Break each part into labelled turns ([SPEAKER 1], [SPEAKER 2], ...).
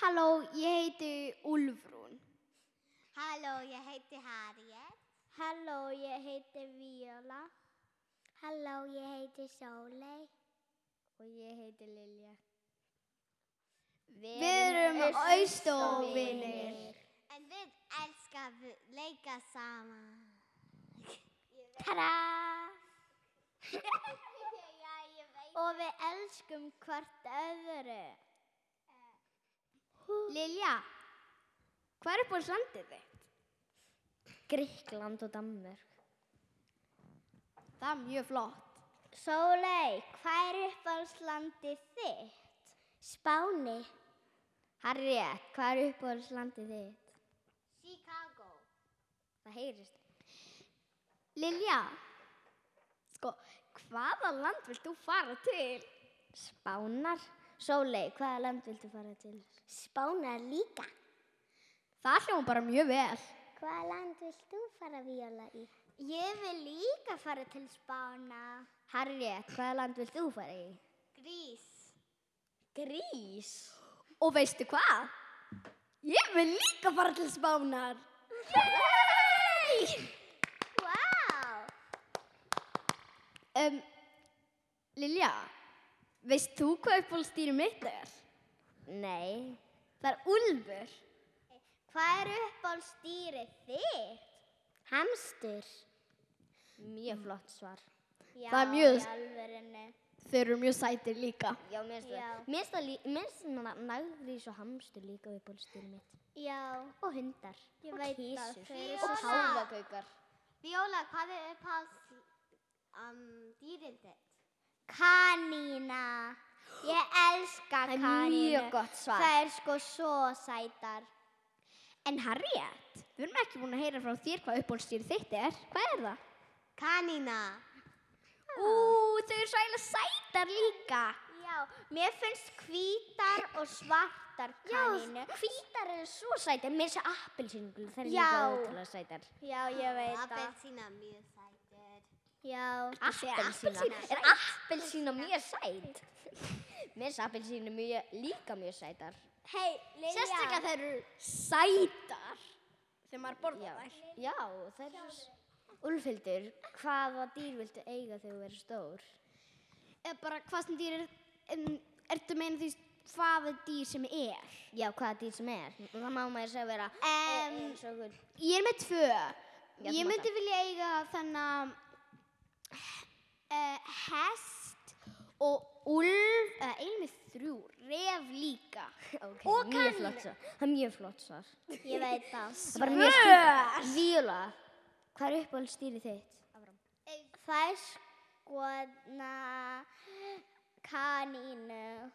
[SPEAKER 1] Halló, ég heiti Úlfrún.
[SPEAKER 2] Halló, ég heiti Harriet. Halló, ég heiti Viola. Halló, ég heiti Sóley. Og ég heiti Lilja.
[SPEAKER 1] Við erum Austovinir.
[SPEAKER 2] En við elskar að leika saman.
[SPEAKER 3] Tada!
[SPEAKER 2] Já, ég veit.
[SPEAKER 3] Og við elskum hvort öðru.
[SPEAKER 1] Lilja, hvað er upp á landið þitt?
[SPEAKER 3] Gríkland og Danmörk.
[SPEAKER 1] Það er mjög flott.
[SPEAKER 3] Sólei, hvað er uppáhaldslandið þitt? Spáni. Harriet, hvað er uppáhaldslandið þitt?
[SPEAKER 2] Chicago.
[SPEAKER 3] Það heyrist.
[SPEAKER 1] Lilja, sko, hvaða land vilt þú fara til?
[SPEAKER 3] Spánar. Sólei, hvaða land viltu fara til? Spánar líka.
[SPEAKER 1] Það hljóðum bara mjög vel.
[SPEAKER 3] Hvaða land vilt þú fara viola í?
[SPEAKER 2] Ég vil líka fara til Spána.
[SPEAKER 3] Harriet, hvaða land vilt þú fara í?
[SPEAKER 2] Grís.
[SPEAKER 3] Grís.
[SPEAKER 1] Og veistu hvað? Ég vil líka fara til Spánar.
[SPEAKER 2] Vá!
[SPEAKER 1] Um, Lilja, veist þú hvað uppáhaldsdýrum mitt er?
[SPEAKER 3] Nei.
[SPEAKER 1] Það er Úlfur.
[SPEAKER 2] Hvað er uppáhaldsdýrið þitt?
[SPEAKER 3] Hamstur. Mjög flott svar.
[SPEAKER 2] Já,
[SPEAKER 1] Það er mjög-
[SPEAKER 2] í alvörunni.
[SPEAKER 1] Þeir eru mjög sætir líka.
[SPEAKER 3] Já, mér finnst
[SPEAKER 2] Já.
[SPEAKER 3] það. Mér finnst það lí- mér finnst það nagrís og hamstur líka við bólstýri mitt.
[SPEAKER 2] Já,
[SPEAKER 3] Og hundar.
[SPEAKER 2] Ég
[SPEAKER 3] og
[SPEAKER 2] veit það,
[SPEAKER 3] kísur.
[SPEAKER 2] þau eru
[SPEAKER 3] Og
[SPEAKER 2] svo-
[SPEAKER 3] páfagaukar.
[SPEAKER 2] Viola, hvað er uppáhalds um, dýrin þitt? Kanína. Ég elska
[SPEAKER 1] Það er
[SPEAKER 2] kanínu.
[SPEAKER 1] mjög gott svar.
[SPEAKER 2] Það er sko svo sætar.
[SPEAKER 1] En Harriet, við erum ekki búin að heyra frá þér hvað uppáhaldsdýr þitt er. Hvað er það?
[SPEAKER 2] Kanína.
[SPEAKER 1] Ú, þau eru svo eiginlega sætar líka.
[SPEAKER 2] Já, mér finnst hvítar og svartar kanínu.
[SPEAKER 3] hvítar eru svo sætar. Mér finnst það appelsingul. Það er
[SPEAKER 2] Já.
[SPEAKER 3] líka ótrúlega sætar.
[SPEAKER 2] Já, ég veit það.
[SPEAKER 4] Appelsína mjög sætir.
[SPEAKER 2] Já.
[SPEAKER 3] Appelsína.
[SPEAKER 2] appelsína.
[SPEAKER 3] Er appelsína mjög sæt? Mér finnst appelsínu mjög, líka mjög sætar.
[SPEAKER 2] Hei, Lilja.
[SPEAKER 1] Sérstaklega þær eru sætar. Þegar maður borða
[SPEAKER 3] Já,
[SPEAKER 1] þær.
[SPEAKER 3] já það er svo... Úlfhildur, hvaða dýr viltu eiga þegar þú verður stór?
[SPEAKER 1] Eða bara hvað sem dýr er, um, ertu meina því hvaða dýr sem er?
[SPEAKER 3] Já, hvaða dýr sem er. Mm, Það má maður segja vera
[SPEAKER 2] Em,
[SPEAKER 3] eins og einhver
[SPEAKER 1] Ég er með tvö.
[SPEAKER 3] Já, þú
[SPEAKER 1] ég
[SPEAKER 3] mátt
[SPEAKER 1] myndi vilja eiga þannig uh, hest og ulv, eða uh, einu með þrjú, ref líka.
[SPEAKER 3] Ok,
[SPEAKER 1] Og
[SPEAKER 3] mjög
[SPEAKER 1] kanínur.
[SPEAKER 3] flott svar. Það er mjög flott svar.
[SPEAKER 2] Ég veit það.
[SPEAKER 3] Það er bara mjög skýrt. Víola, hvað er uppáhaldsdýrið þitt?
[SPEAKER 2] Það er skoðna kanínu.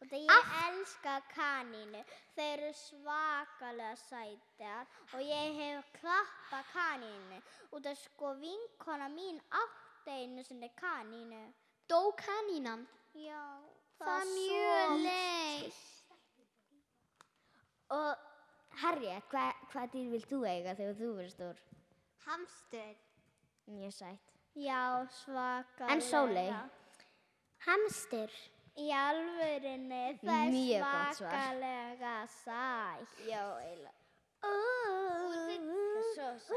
[SPEAKER 2] Og það ég elska kanínu. Þau eru svakalega sætar og ég hef klappa kanínu. Og það sko vinkona mín átti einu sinni kanínu.
[SPEAKER 1] Dó kanínan.
[SPEAKER 2] Já,
[SPEAKER 1] Það er mjög leið.
[SPEAKER 3] Og Harriet, hvað, hvaða dýr vilt þú eiga þegar þú verður stór?
[SPEAKER 2] Hamstur.
[SPEAKER 3] Mjög sætt.
[SPEAKER 2] Já, svakalega.
[SPEAKER 3] En Sóley? Hamstur.
[SPEAKER 2] Í alvörinni, það
[SPEAKER 3] Mjög
[SPEAKER 2] er
[SPEAKER 3] gott svar.
[SPEAKER 2] svakalega sætt.
[SPEAKER 3] Já, eiginlega.
[SPEAKER 2] Lilja,
[SPEAKER 3] Svo sætt.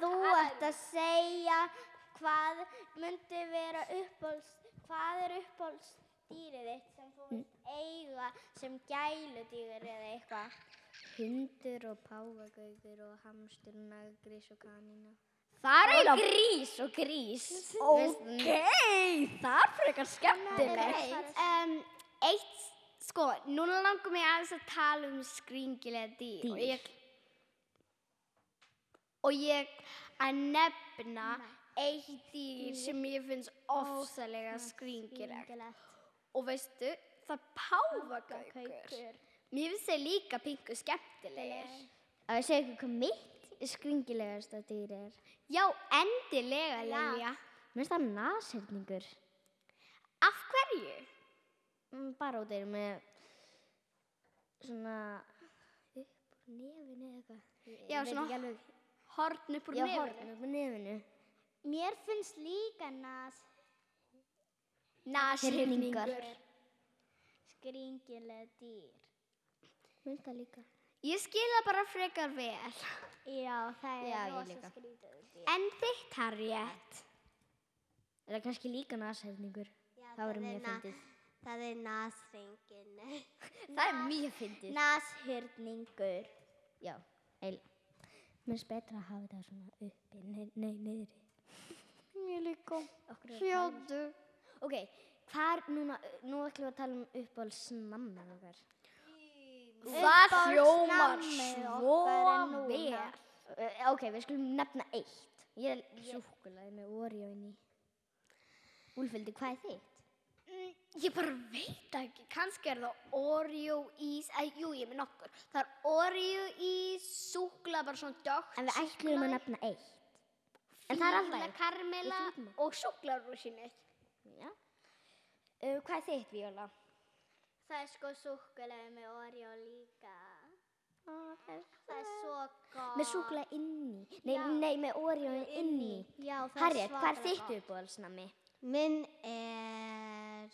[SPEAKER 2] þú ert að segja hvað myndi vera uppáhalds, hvað er uppáhaldsdýrið þitt sem þú vilt eiga sem gæludýr eða eitthvað.
[SPEAKER 3] Hundur og páfagaugur og hamstur, nagrís og kanína.
[SPEAKER 1] Það er
[SPEAKER 3] Og
[SPEAKER 1] eiginlega,
[SPEAKER 3] grís og grís.
[SPEAKER 1] ok, það er frekar skemmtilegt.
[SPEAKER 2] Nei,
[SPEAKER 1] Um, eitt, sko, núna langar mig aðeins að tala um skringilega dýr. Og
[SPEAKER 3] Dýr.
[SPEAKER 1] ég, og ég að nefna eitt dýr sem ég finnst ofsalega skringilegt. Og veistu, það er páfagaukur. Mér finnst þeir líka pingu skemmtilegir.
[SPEAKER 3] Að ég segja ykkur hvað mitt skringilegasta dýr er.
[SPEAKER 1] Já, endilega, Lilja.
[SPEAKER 3] Mér finnst það nashyrningur.
[SPEAKER 1] Af hverju?
[SPEAKER 3] Mm, bara út þeir með svona upp úr nefinu eða eitthvað. Ég- ég
[SPEAKER 1] Já,
[SPEAKER 3] veit ekki
[SPEAKER 1] svona
[SPEAKER 3] alveg.
[SPEAKER 1] horn upp úr
[SPEAKER 3] Já,
[SPEAKER 1] nefnum.
[SPEAKER 3] horn upp úr nefinu.
[SPEAKER 2] Mér finnst líka nas
[SPEAKER 1] Nashyrningar.
[SPEAKER 2] Skringileg dýr.
[SPEAKER 3] Mynda líka.
[SPEAKER 1] Ég skil það bara frekar vel.
[SPEAKER 2] Já, það er
[SPEAKER 3] Já, ég líka.
[SPEAKER 2] rosa skrítið dýr.
[SPEAKER 1] En þitt har rétt.
[SPEAKER 3] Eða kannski líka nashyrningur.
[SPEAKER 2] Já,
[SPEAKER 3] Það verður
[SPEAKER 2] er
[SPEAKER 3] mjög
[SPEAKER 2] na-
[SPEAKER 3] fyndið.
[SPEAKER 2] Það er nasringin.
[SPEAKER 3] Það er mjög fyndið.
[SPEAKER 2] Nashyrningur.
[SPEAKER 3] Já, eiginlega. Mér finnst betra að hafa þetta svona uppi, nei, nei, niðri.
[SPEAKER 1] Mér líka.
[SPEAKER 3] Okkur er það.
[SPEAKER 1] Hljóðu.
[SPEAKER 3] Ok, hvað er núna, nú ætlum við að tala um uppáhaldsnamman okkar.
[SPEAKER 1] Það hljómar
[SPEAKER 2] Uppáhaldsnammið
[SPEAKER 1] svo
[SPEAKER 2] okkar er núna.
[SPEAKER 1] vel.
[SPEAKER 3] Uh, ok, við skulum nefna eitt. Ég er sjúkulaði með Oreoin í. Úlfildi, hvað er þitt?
[SPEAKER 1] Mm, Ég bara veit það ekki, kannski er það Oreo ís, að, jú ég er með nokkur, það er Oreo ís, súkla bara svona dögt.
[SPEAKER 3] En við ætlum að nefna eitt. en það er alltaf eitt.
[SPEAKER 1] Karmela
[SPEAKER 3] Ég fíla.
[SPEAKER 1] og súklarúsinu.
[SPEAKER 3] Já. Uh, hvað er þitt, Viola?
[SPEAKER 2] Það er sko súkulega með orjó líka. Það er svo gott.
[SPEAKER 3] Með súkulaði inni. Nei,
[SPEAKER 2] Já.
[SPEAKER 3] nei, með Oreoin inni.
[SPEAKER 2] Já, það
[SPEAKER 3] Harriet,
[SPEAKER 2] er
[SPEAKER 3] hvað er
[SPEAKER 2] svakalega
[SPEAKER 3] þitt
[SPEAKER 2] gott.
[SPEAKER 3] uppáhaldsnammi?
[SPEAKER 2] Minn er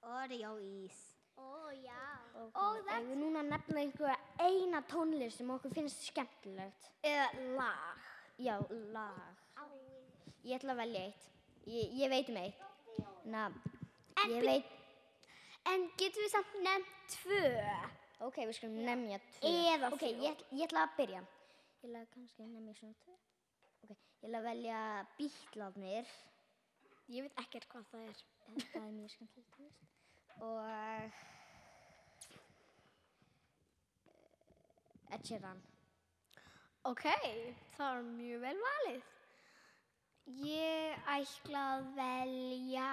[SPEAKER 2] orjó ís. Ó, já.
[SPEAKER 3] Og það... Við núna að nefna einhverja eina tónlist sem okkur finnst skemmtilegt.
[SPEAKER 1] Eða lag.
[SPEAKER 3] Já, lag. Ég ætla að velja eitt. Ég, ég veit um eitt. Na,
[SPEAKER 1] En
[SPEAKER 3] ég
[SPEAKER 1] bíddu.
[SPEAKER 3] veit...
[SPEAKER 1] En getum við samt nefnt tvö?
[SPEAKER 3] Ok, við skulum nefnja tvö.
[SPEAKER 1] Eða
[SPEAKER 3] Ok,
[SPEAKER 1] þrjú.
[SPEAKER 3] ég, ætl- ég ætla að byrja. Ég ætla kannski að nefnja svona tvö. Ok, ég ætla að velja bítlarnir.
[SPEAKER 1] Ég veit ekkert hvað það er.
[SPEAKER 3] Það er mjög skemmtilegt tónlist. Og... Ed Sheeran.
[SPEAKER 1] Ok, það er mjög vel valið. Ég ætla að velja...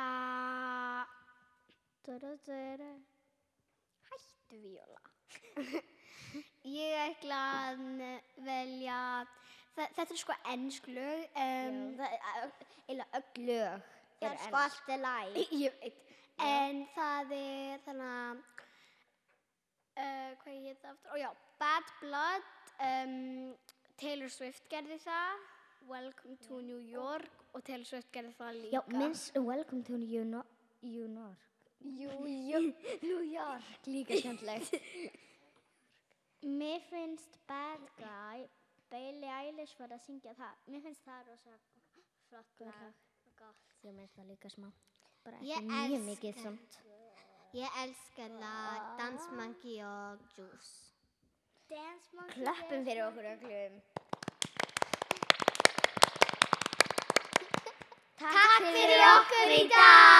[SPEAKER 1] Hættu Viola. ég ætla að ne- velja... Þa, þetta er sko ennsk lög. Um, það er eila öll lög.
[SPEAKER 2] Það
[SPEAKER 3] eru
[SPEAKER 2] er sko allt er læg.
[SPEAKER 1] Ég veit. En það er þannig að... Uh, hvað ég heita aftur? Ó já, Bad Blood. Um, Taylor Swift gerði það. Welcome to New York. Og Taylor Swift gerði það líka.
[SPEAKER 3] Já, minnst Welcome to New York. New York.
[SPEAKER 1] Jú, jú, New York.
[SPEAKER 3] Líka skemmtilegt.
[SPEAKER 2] Mér finnst Bad Guy, Bailey Eilish var að syngja það. Mér finnst það rosa flott
[SPEAKER 3] Gott
[SPEAKER 2] lag.
[SPEAKER 3] lag.
[SPEAKER 2] Gott.
[SPEAKER 3] Ég meðst það líka smá. Bara
[SPEAKER 2] Ég
[SPEAKER 3] ekki mjög
[SPEAKER 2] elska
[SPEAKER 3] mikið samt.
[SPEAKER 2] Ég elska það, Dance Monkey og Juice. Dance Monkey
[SPEAKER 3] Klöppum fyrir okkur öllum.
[SPEAKER 2] Takk fyrir okkur í dag!